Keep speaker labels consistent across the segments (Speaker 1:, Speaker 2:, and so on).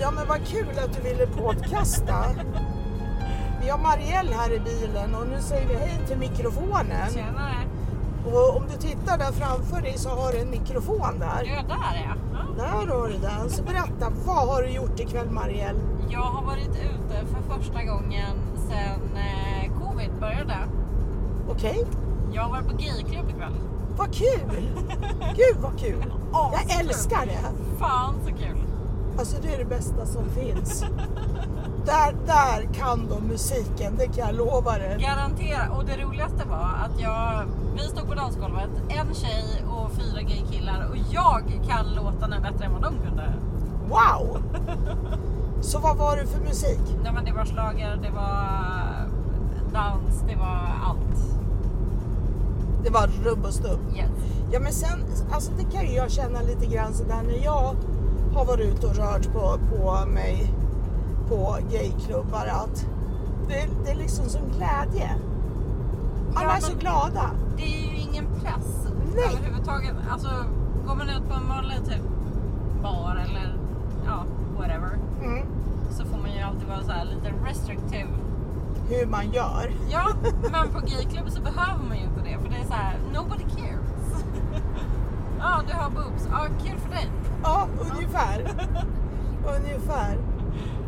Speaker 1: Ja men vad kul att du ville podcasta. Vi har Marielle här i bilen och nu säger vi hej till mikrofonen.
Speaker 2: Tjenare.
Speaker 1: Och om du tittar där framför dig så har du en mikrofon där.
Speaker 2: Ja, där är jag. Ja.
Speaker 1: Där har du den. Så berätta, vad har du gjort ikväll Marielle?
Speaker 2: Jag har varit ute för första gången sen eh, covid började.
Speaker 1: Okej,
Speaker 2: Jag har varit på gayklubb ikväll.
Speaker 1: vad kul! Gud vad kul! Jag
Speaker 2: Askul.
Speaker 1: älskar det!
Speaker 2: Fan så kul.
Speaker 1: Alltså det är det bästa som finns. Där, där kan de musiken, det kan jag lova dig.
Speaker 2: Garantera. Och det roligaste var att jag, vi stod på dansgolvet, en tjej och fyra gaykillar och jag kan låtarna bättre än vad de kunde.
Speaker 1: Wow! Så vad var det för musik?
Speaker 2: Nej, men det var schlager, det var eh, dans, det var allt.
Speaker 1: Det var rubb och stubb.
Speaker 2: Yes.
Speaker 1: Ja men sen, alltså det kan ju jag känna lite grann sådär när jag har varit ute och rört på, på mig på gayklubbar att det, det är liksom som glädje. Alla
Speaker 2: Ja,
Speaker 1: är så
Speaker 2: men-
Speaker 1: glada.
Speaker 2: Det är ju ingen press
Speaker 1: Nej.
Speaker 2: överhuvudtaget. Alltså, går man ut på en vanlig typ bar eller ja, whatever
Speaker 1: Mm.
Speaker 2: så får man ju alltid vara så här lite restrictive.
Speaker 1: Hur man gör.
Speaker 2: Ja, men på gayklubb så behöver man ju inte det för det är så här, nobody cares. Ja, du har boobs. Ja, kul för dig.
Speaker 1: Ja, ungefär. ungefär.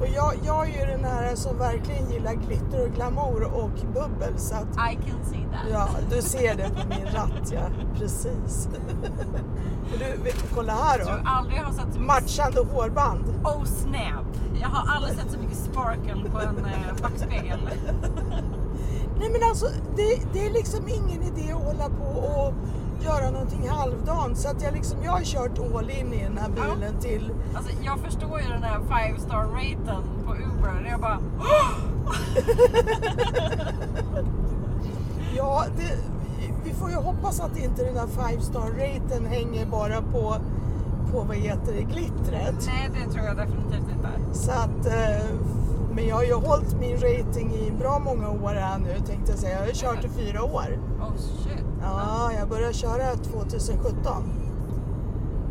Speaker 1: Och jag, jag är ju den här som verkligen gillar glitter och glamour och bubbel så att
Speaker 2: I can see that.
Speaker 1: Ja, du ser det på min ratt, ja. Precis. Och du, vet- kolla här
Speaker 2: Jag tror
Speaker 1: då.
Speaker 2: aldrig jag har sett så mycket...
Speaker 1: Matchande hårband.
Speaker 2: Oh snap! Jag har aldrig sett så mycket sparkle på en eh, backspegel.
Speaker 1: Nej men alltså, det, det är liksom ingen idé att hålla på och göra någonting halvdant. Så att jag liksom, jag har kört all in i den här bilen till...
Speaker 2: Alltså, jag förstår ju den här 5 star raten på Uber. Jag bara...
Speaker 1: Ja, det, vi får ju hoppas att inte den där five star raten hänger bara på, på vad heter det, glittret.
Speaker 2: Nej, det tror jag definitivt inte.
Speaker 1: Så att, eh, men jag har ju hållit min rating i bra många år här nu tänkte jag säga. Jag har ju kört i fyra år.
Speaker 2: Oh shit.
Speaker 1: Ja, jag började köra 2017.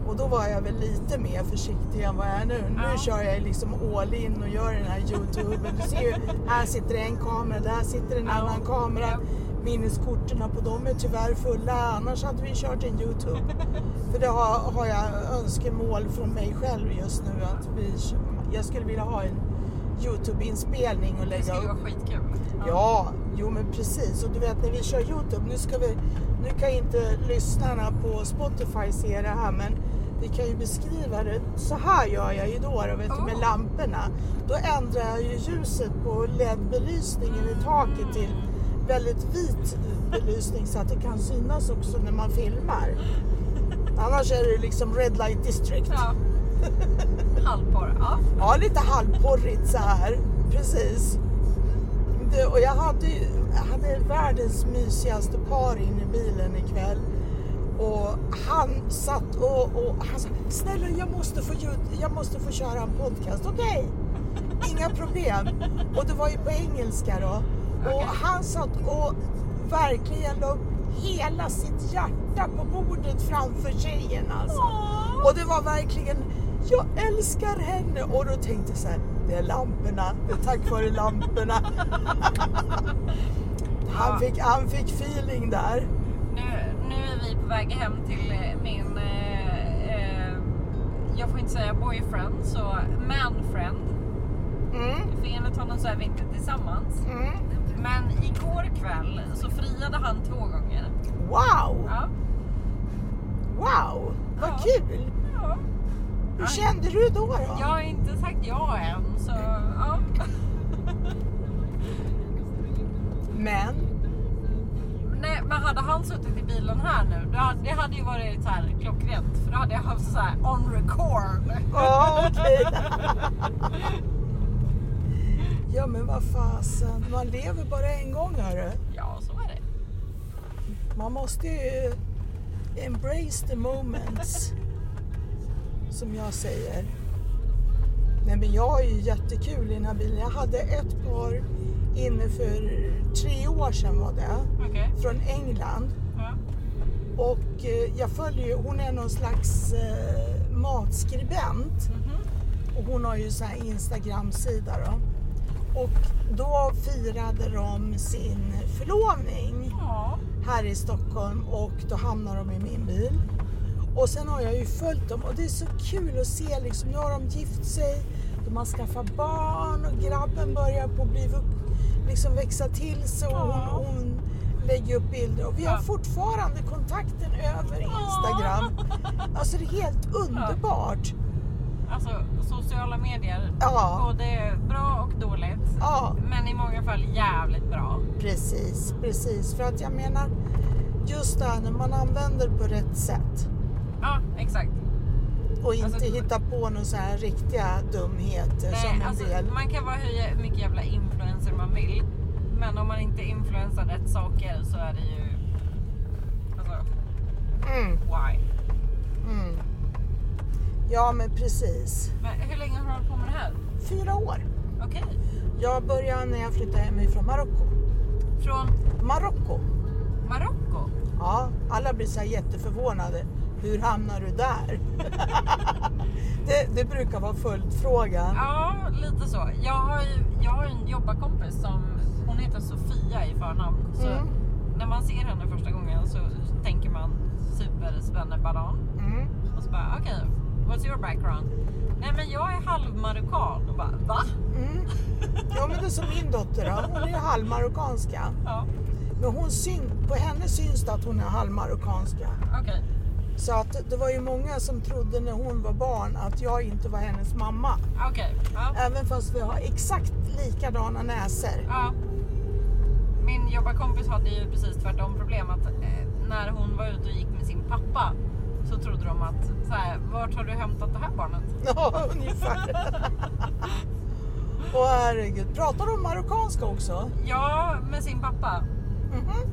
Speaker 1: Och då var jag väl lite mer försiktig än vad jag är nu. Nu
Speaker 2: Ja.
Speaker 1: kör jag liksom all in och gör den här Youtube. Du ser ju, här sitter en kamera, där sitter en
Speaker 2: Ja.
Speaker 1: annan kamera.
Speaker 2: Ja.
Speaker 1: Minneskorten på dem är tyvärr fulla, annars hade vi kört en Youtube. För det har, har jag önskemål från mig själv just nu att vi, jag skulle vilja ha en Youtube-inspelning och
Speaker 2: Det
Speaker 1: lägga
Speaker 2: skulle
Speaker 1: upp.
Speaker 2: ju vara skitkul.
Speaker 1: Ja, jo men precis. Och du vet när vi kör Youtube, nu, ska vi, nu kan inte lyssnarna på Spotify se det här men vi kan ju beskriva det. Så här gör jag ju då, då vet du, med
Speaker 2: Oh.
Speaker 1: lamporna. Då ändrar jag ju ljuset på LED-belysningen i taket till väldigt vit belysning så att det kan synas också när man filmar. Annars är det liksom Red Light District.
Speaker 2: Ja. Halvporr. Ja.
Speaker 1: Ja, lite halvporrigt så här. Precis. Det, och jag hade, ju- jag hade världens mysigaste par in i bilen ikväll. Och han satt och, och han sa, snälla jag måste få, ljud, jag måste få köra en podcast. Okej, inga problem. Och det var ju på engelska då. Och
Speaker 2: Okej.
Speaker 1: han satt och verkligen la upp hela sitt hjärta på bordet framför tjejen alltså.
Speaker 2: Åh.
Speaker 1: Och det var verkligen, jag älskar henne. Och då tänkte jag så här, det är lamporna, det är tack vare lamporna. Han
Speaker 2: Ja.
Speaker 1: fick, han fick feeling där.
Speaker 2: Nu, nu är vi på väg hem till eh, min... Eh, eh, jag får inte säga boyfriend, så manfriend.
Speaker 1: Mm,
Speaker 2: För enligt honom så är vi inte tillsammans.
Speaker 1: mm.
Speaker 2: Men igår kväll så friade han två gånger.
Speaker 1: Wow,
Speaker 2: Ja.
Speaker 1: wow, vad
Speaker 2: Ja.
Speaker 1: kul.
Speaker 2: ja.
Speaker 1: Hur
Speaker 2: Aj.
Speaker 1: kände du då? då?
Speaker 2: Jag har inte sagt ja än, så ja.
Speaker 1: Men,
Speaker 2: Nej, men hade han suttit i bilen här nu, då hade, det hade ju varit så här klockrent. För då hade jag haft så här on record.
Speaker 1: ja okej. ja men vad fasen, man lever bara en gång hörru.
Speaker 2: Ja, så är det.
Speaker 1: Man måste ju eh, embrace the moments. Som jag säger. Nej men jag har ju jättekul i den här bilen. Jag hade ett par inne för tre år sedan var det.
Speaker 2: Okej.
Speaker 1: Från England.
Speaker 2: Ja.
Speaker 1: Och eh, jag följer ju, hon är någon slags eh, matskribent.
Speaker 2: Mhm.
Speaker 1: Och hon har ju så här Instagram-sida då. Och då firade de sin förlovning
Speaker 2: Ja.
Speaker 1: här i Stockholm och då hamnar de i min bil. Och sen har jag ju följt dem och det är så kul att se liksom, nu har de gift sig, de har skaffat barn och grabben börjar på att bli vux- liksom växa till sig och hon,
Speaker 2: Ja.
Speaker 1: hon lägger upp bilder och vi har
Speaker 2: Ja.
Speaker 1: fortfarande kontakten över Instagram. Alltså det är helt underbart.
Speaker 2: Alltså sociala medier.
Speaker 1: Ja,
Speaker 2: Både bra och dåligt.
Speaker 1: ja
Speaker 2: Men i många fall jävligt bra.
Speaker 1: precis, precis. För att jag menar just det här när man använder på rätt sätt.
Speaker 2: Ja, exakt.
Speaker 1: Och inte
Speaker 2: Alltså-
Speaker 1: hitta på några så här riktiga dumheter som
Speaker 2: Nej,
Speaker 1: en
Speaker 2: alltså,
Speaker 1: del.
Speaker 2: man kan vara hur mycket jävla influencer man vill. Men om man inte influensar rätt saker så är det ju... Alltså,
Speaker 1: Mm,
Speaker 2: why?
Speaker 1: mm. Ja men precis.
Speaker 2: Men hur länge har du hållit på med det här?
Speaker 1: Fyra år.
Speaker 2: Okej.
Speaker 1: Jag började när jag flyttade hemifrån Marocko.
Speaker 2: Från
Speaker 1: Marocko?
Speaker 2: Marocko?
Speaker 1: Ja, alla blir så här jätteförvånade. Hur hamnar du där? det, det brukar vara följdfrågan.
Speaker 2: Ja, lite så. Jag har ju jag har ju en jobbarkompis som... Hon heter Sofia i förnamn. Så
Speaker 1: Mm.
Speaker 2: när man ser henne första gången så tänker man supersvennebanan.
Speaker 1: Mm.
Speaker 2: Och så bara, okej, what's your background? Nej men jag är halvmarockan. Och bara, va?
Speaker 1: Mm. Ja men det är som min dotter då. Hon är halvmarockanska.
Speaker 2: Ja,
Speaker 1: Men hon syn, på henne syns det att hon är halvmarockanska.
Speaker 2: okej.
Speaker 1: Så att det var ju många som trodde när hon var barn att jag inte var hennes mamma.
Speaker 2: Okej, ja.
Speaker 1: Även fast vi har exakt likadana näsor.
Speaker 2: ja. Min jobbarkompis hade ju precis tvärtom problem att eh, när hon var ute och gick med sin pappa så trodde de att så här, vart har du hämtat det här barnet?
Speaker 1: Ja, ungefär. Åh herregud. Pratar de marockanska också?
Speaker 2: Ja, med sin pappa.
Speaker 1: Mhm.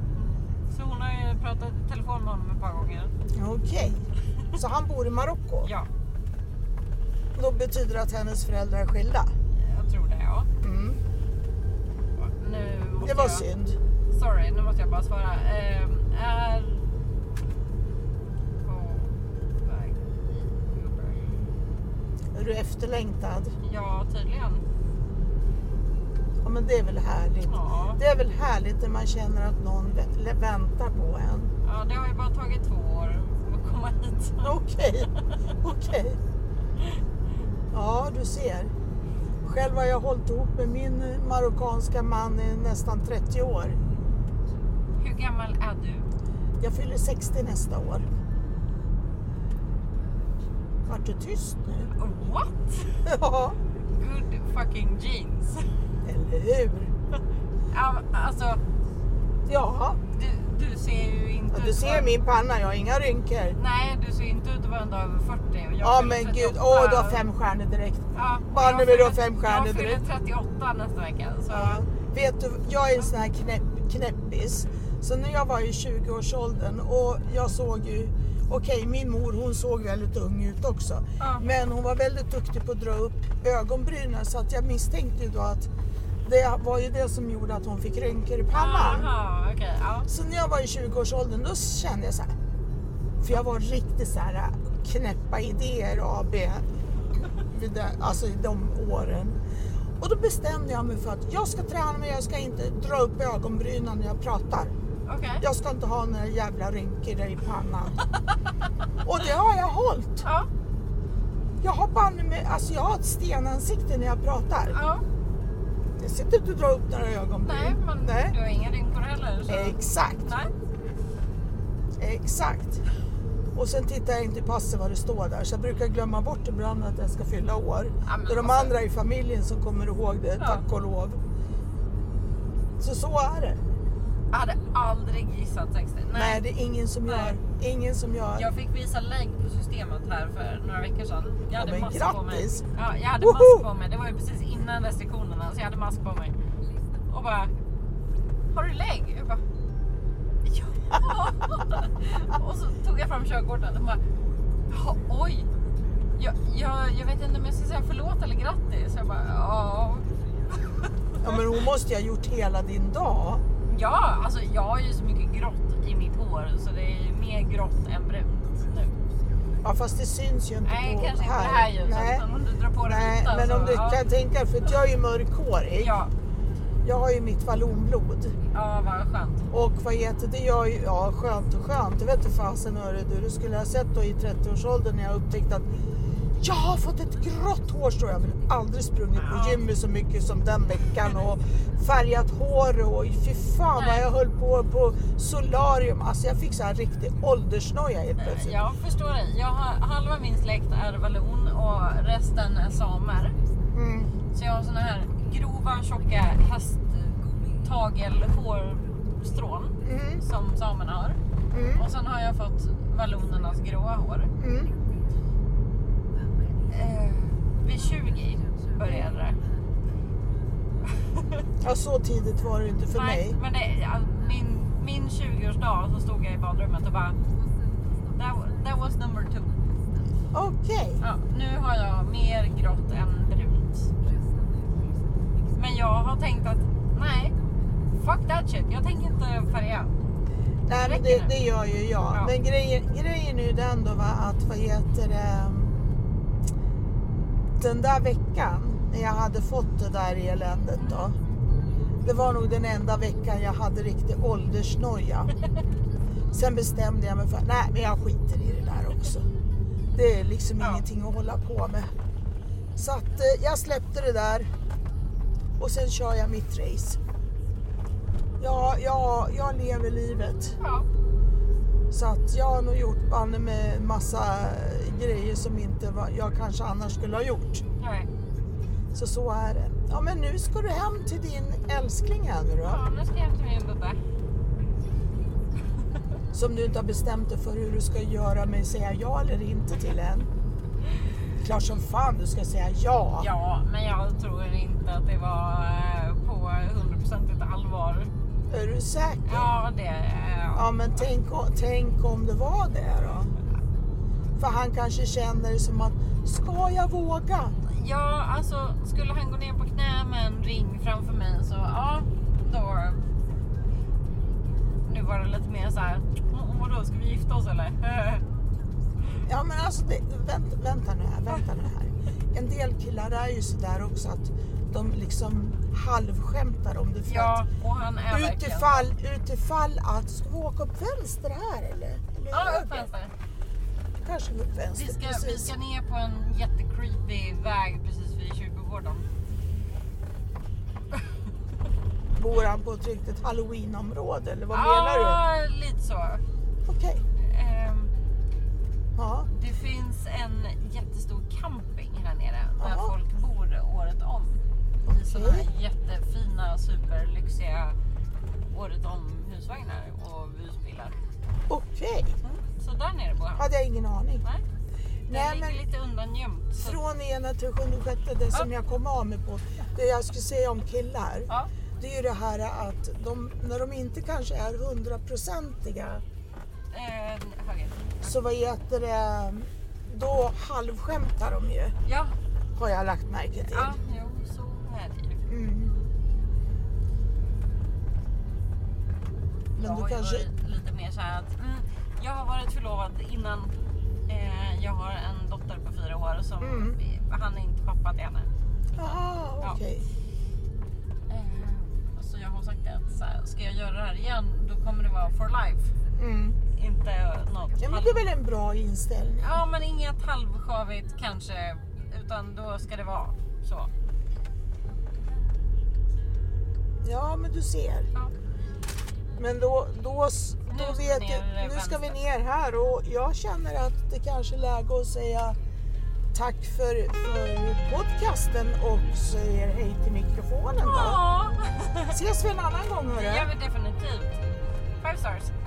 Speaker 2: Så hon har ju pratat i telefon med honom ett par gånger.
Speaker 1: Okej. Så han bor i Marocko?
Speaker 2: Ja,
Speaker 1: Då betyder det att hennes föräldrar är skilda?
Speaker 2: jag tror det ja.
Speaker 1: Mm.
Speaker 2: Nu måste
Speaker 1: Det var
Speaker 2: jag...
Speaker 1: synd.
Speaker 2: Sorry, nu måste jag bara svara. Eh, är på väg i Uber.
Speaker 1: Är du efterlängtad?
Speaker 2: Ja, tydligen.
Speaker 1: Ja men det är väl härligt.
Speaker 2: Ja.
Speaker 1: Det är väl härligt när man känner att någon vä- väntar på en.
Speaker 2: ja, det har ju bara tagit två år att komma hit.
Speaker 1: Okej, okej. Ja, du ser. Själv har jag hållit ihop med min marockanska man i nästan 30 år.
Speaker 2: Hur gammal är du?
Speaker 1: Jag fyller 60 nästa år. Vart du tyst nu?
Speaker 2: What?
Speaker 1: Ja,
Speaker 2: Good fucking jeans.
Speaker 1: eller hur?
Speaker 2: Ja, Alltså,
Speaker 1: Ja,
Speaker 2: du, du ser ju inte
Speaker 1: ja,
Speaker 2: ut
Speaker 1: du
Speaker 2: att
Speaker 1: ser
Speaker 2: vara-
Speaker 1: min panna, jag har inga rynkor.
Speaker 2: Nej, du ser inte ut att vara en dag över 40. och jag
Speaker 1: Ja
Speaker 2: fyller
Speaker 1: men gud,
Speaker 2: 38.
Speaker 1: åh du har fem stjärnor direkt.
Speaker 2: Ja, och
Speaker 1: Bara
Speaker 2: jag
Speaker 1: nu vill du ha
Speaker 2: fyller-
Speaker 1: fem stjärnor
Speaker 2: Jag fyller
Speaker 1: direkt.
Speaker 2: 38 nästa vecka. Så,
Speaker 1: Ja. Alltså, Vet du, jag är en sån här knäpp, knäppis. Så när jag var i 20-årsåldern och jag såg ju, okej min mor hon såg väldigt ung ut också.
Speaker 2: Ja.
Speaker 1: Men hon var väldigt duktig på att dra upp ögonbrynen så att jag misstänkte ju då att det var ju det som gjorde att hon fick rynkor i pannan.
Speaker 2: Aha, okej. ja.
Speaker 1: Så när jag var i 20-årsåldern då kände jag så här, för jag var riktigt så här äh, knäppa idéer AB vid det- alltså i de åren. Och då bestämde jag mig för att jag ska träna men jag ska inte dra upp ögonbrynen när jag pratar.
Speaker 2: Okej.
Speaker 1: Jag ska inte ha några jävla rynkor där i pannan. Och det har jag hållit.
Speaker 2: Ja.
Speaker 1: Jag har banne mig, alltså jag har ett stenansikte när jag pratar.
Speaker 2: ja.
Speaker 1: Jag sitter inte och drar upp några ögonbryn.
Speaker 2: Nej, men du
Speaker 1: Nej.
Speaker 2: har inga rynkor heller. Så.
Speaker 1: Exakt.
Speaker 2: Nej.
Speaker 1: Exakt. Och sen tittar jag inte i passet vad det står där. Så jag brukar glömma bort ibland att jag ska fylla år.
Speaker 2: Ja, men
Speaker 1: det är de
Speaker 2: alltså-
Speaker 1: andra i familjen som kommer ihåg det,
Speaker 2: Ja.
Speaker 1: tack och lov. Så så är det.
Speaker 2: Jag hade aldrig gissat 60. Nej.
Speaker 1: Nej, det är ingen som
Speaker 2: Nej.
Speaker 1: gör. Ingen som gör.
Speaker 2: Jag fick visa lägg på systemet här för några veckor sedan. Jag hade
Speaker 1: men
Speaker 2: mask på mig.
Speaker 1: grattis.
Speaker 2: Ja, jag hade
Speaker 1: Woho!
Speaker 2: mask på mig. Det var ju precis innan restriktionerna så jag hade mask på mig. Och bara, har du lägg? Jag bara, ja. och så tog jag fram körkortet och bara, "Ja, oj. Jag, jag, jag vet inte om jag ska säga förlåt eller grattis. Jag bara, ja.
Speaker 1: Ja, men hon måste ju ha gjort hela din dag.
Speaker 2: Ja, alltså jag har ju så mycket grått i mitt hår så det är ju mer grått än brunt nu.
Speaker 1: Ja, fast det syns ju inte
Speaker 2: Nej,
Speaker 1: på
Speaker 2: kanske inte
Speaker 1: här.
Speaker 2: det här ljuset.
Speaker 1: Nej.
Speaker 2: utan Om du drar på dig
Speaker 1: Nej,
Speaker 2: vita
Speaker 1: men
Speaker 2: så,
Speaker 1: om du
Speaker 2: ja.
Speaker 1: kan tänka för att jag är ju mörkhårig.
Speaker 2: Ja,
Speaker 1: Jag har ju mitt vallonblod.
Speaker 2: ja vad skönt.
Speaker 1: Och vad heter det? Jag, är ju- ja, skönt och skönt. Det vet du fasen hörru du. Du skulle ha sett då i 30-årsåldern när jag upptäckte att jag har fått ett grått hårstrå. Jag har väl aldrig sprungit på
Speaker 2: Ja.
Speaker 1: gymmet så mycket som den veckan och färgat hår och fy fan vad
Speaker 2: Nej.
Speaker 1: jag höll på på solarium. Alltså jag fick så här riktig åldersnoja helt
Speaker 2: Eh,
Speaker 1: plötsligt.
Speaker 2: Jag förstår dig. Jag har, halva min släkt är vallon och resten är samer.
Speaker 1: Mm.
Speaker 2: Så jag har såna här grova, tjocka hästtagelhårstrån
Speaker 1: Mm.
Speaker 2: som samerna har.
Speaker 1: Mm.
Speaker 2: Och sen har jag fått vallonernas gråa hår.
Speaker 1: Mm.
Speaker 2: Eh, vid 20 började det.
Speaker 1: Ja, så tidigt var det ju inte för mig.
Speaker 2: men det, ja, min, min 20-årsdag så stod jag i badrummet och bara... That, wa- that was number two.
Speaker 1: Okej.
Speaker 2: Ja, nu har jag mer grått än brunt. Men jag har tänkt att nej, fuck that shit. Jag tänker inte färga.
Speaker 1: Nej men det,
Speaker 2: Räcker det?
Speaker 1: det gör ju jag.
Speaker 2: Ja.
Speaker 1: Men grejen, grejen är ju den då va, att vad heter det. Den där veckan när jag hade fått det där eländet då. Det var nog den enda veckan jag hade riktig åldersnoja. Sen bestämde jag mig för att nej men jag skiter i det där också. Det är liksom
Speaker 2: Ja.
Speaker 1: ingenting att hålla på med. Så att eh, jag släppte det där. Och sen kör jag mitt race. Ja, ja, jag lever livet.
Speaker 2: Ja,
Speaker 1: Så att jag har nog gjort banne med massa grejer som inte var, jag kanske annars skulle ha gjort.
Speaker 2: nej.
Speaker 1: Så så är det. Ja men nu ska du hem till din älskling här nu då.
Speaker 2: Ja, nu ska jag hem till min bubbe.
Speaker 1: Som du inte har bestämt dig för hur du ska göra med säga ja eller inte till än. Klart som fan du ska säga ja.
Speaker 2: Ja, men jag tror inte att det var eh, på 100% allvar.
Speaker 1: Är du säker?
Speaker 2: Ja, det... eh,
Speaker 1: Ja, men tänk, o- tänk om det var det då. För han kanske känner det som att, ska jag våga?
Speaker 2: Ja, alltså skulle han gå ner på knä med en ring framför mig så ja, då... Nu var det lite mer så här, "Mm, vadå ska vi gifta oss eller?
Speaker 1: Ja men alltså, det, vänta, vänta nu här, vänta nu här. En del killar är ju sådär också att de liksom halvskämtar om det. För
Speaker 2: ja, och han är
Speaker 1: att
Speaker 2: verkligen...
Speaker 1: utifall, utifall att, ska vi åka upp vänster här eller? eller
Speaker 2: Ja,
Speaker 1: höger?
Speaker 2: upp vänster.
Speaker 1: Kanske upp vänster,
Speaker 2: Vi ska,
Speaker 1: precis.
Speaker 2: vi ska ner på en jättecreepy väg precis vid kyrkogården.
Speaker 1: Bor han på ett riktigt halloweenområde eller vad menar du?
Speaker 2: Ja, lite så.
Speaker 1: Okej,
Speaker 2: Ehm,
Speaker 1: ja.
Speaker 2: det finns en jättestor camping här nere där
Speaker 1: Jaha.
Speaker 2: folk bor året om. I sådana
Speaker 1: Okej.
Speaker 2: här jättefina, superlyxiga året om husvagnar och husbilar.
Speaker 1: Okej,
Speaker 2: Så där nere bor han.
Speaker 1: hade jag ingen aning.
Speaker 2: Nej,
Speaker 1: Mm. Nej,
Speaker 2: det ligger
Speaker 1: men-
Speaker 2: lite undangömt. Så...
Speaker 1: Från ena till sjunde sjätte, det som jag kom av mig på. Det jag skulle säga om killar.
Speaker 2: Ja,
Speaker 1: Det är ju det här att de, när de inte kanske är hundraprocentiga
Speaker 2: eh, höger.
Speaker 1: så vad heter det, då halvskämtar de ju
Speaker 2: Ja,
Speaker 1: har jag lagt märke till.
Speaker 2: ja, jo, så är det ju.
Speaker 1: Mm.
Speaker 2: jag
Speaker 1: Men du
Speaker 2: har ju
Speaker 1: kanske,
Speaker 2: varit lite mer så här att mm, jag har varit förlovad innan. Eh, jag har en dotter på fyra år som
Speaker 1: Mm.
Speaker 2: han är inte pappa till henne.
Speaker 1: jaha
Speaker 2: Ja.
Speaker 1: Ah, okej.
Speaker 2: Eh, så jag har sagt det att så här, ska jag göra det här igen då kommer det vara for life.
Speaker 1: Mm.
Speaker 2: Inte något
Speaker 1: Ja men
Speaker 2: halv-
Speaker 1: det är väl en bra inställning.
Speaker 2: ja, men inget halvsjavigt kanske utan då ska det vara så.
Speaker 1: Ja men du ser.
Speaker 2: Ja.
Speaker 1: Men då, då, s-
Speaker 2: Nu
Speaker 1: då
Speaker 2: ska vi
Speaker 1: vet
Speaker 2: ner
Speaker 1: jag, nu ska vi
Speaker 2: vänster.
Speaker 1: ner här och jag känner att det kanske är läge att säga tack för, för podcasten och säger hej till mikrofonen då.
Speaker 2: Ja,
Speaker 1: Ses vi en annan gång
Speaker 2: det gör
Speaker 1: hörru.
Speaker 2: vi definitivt. Five stars.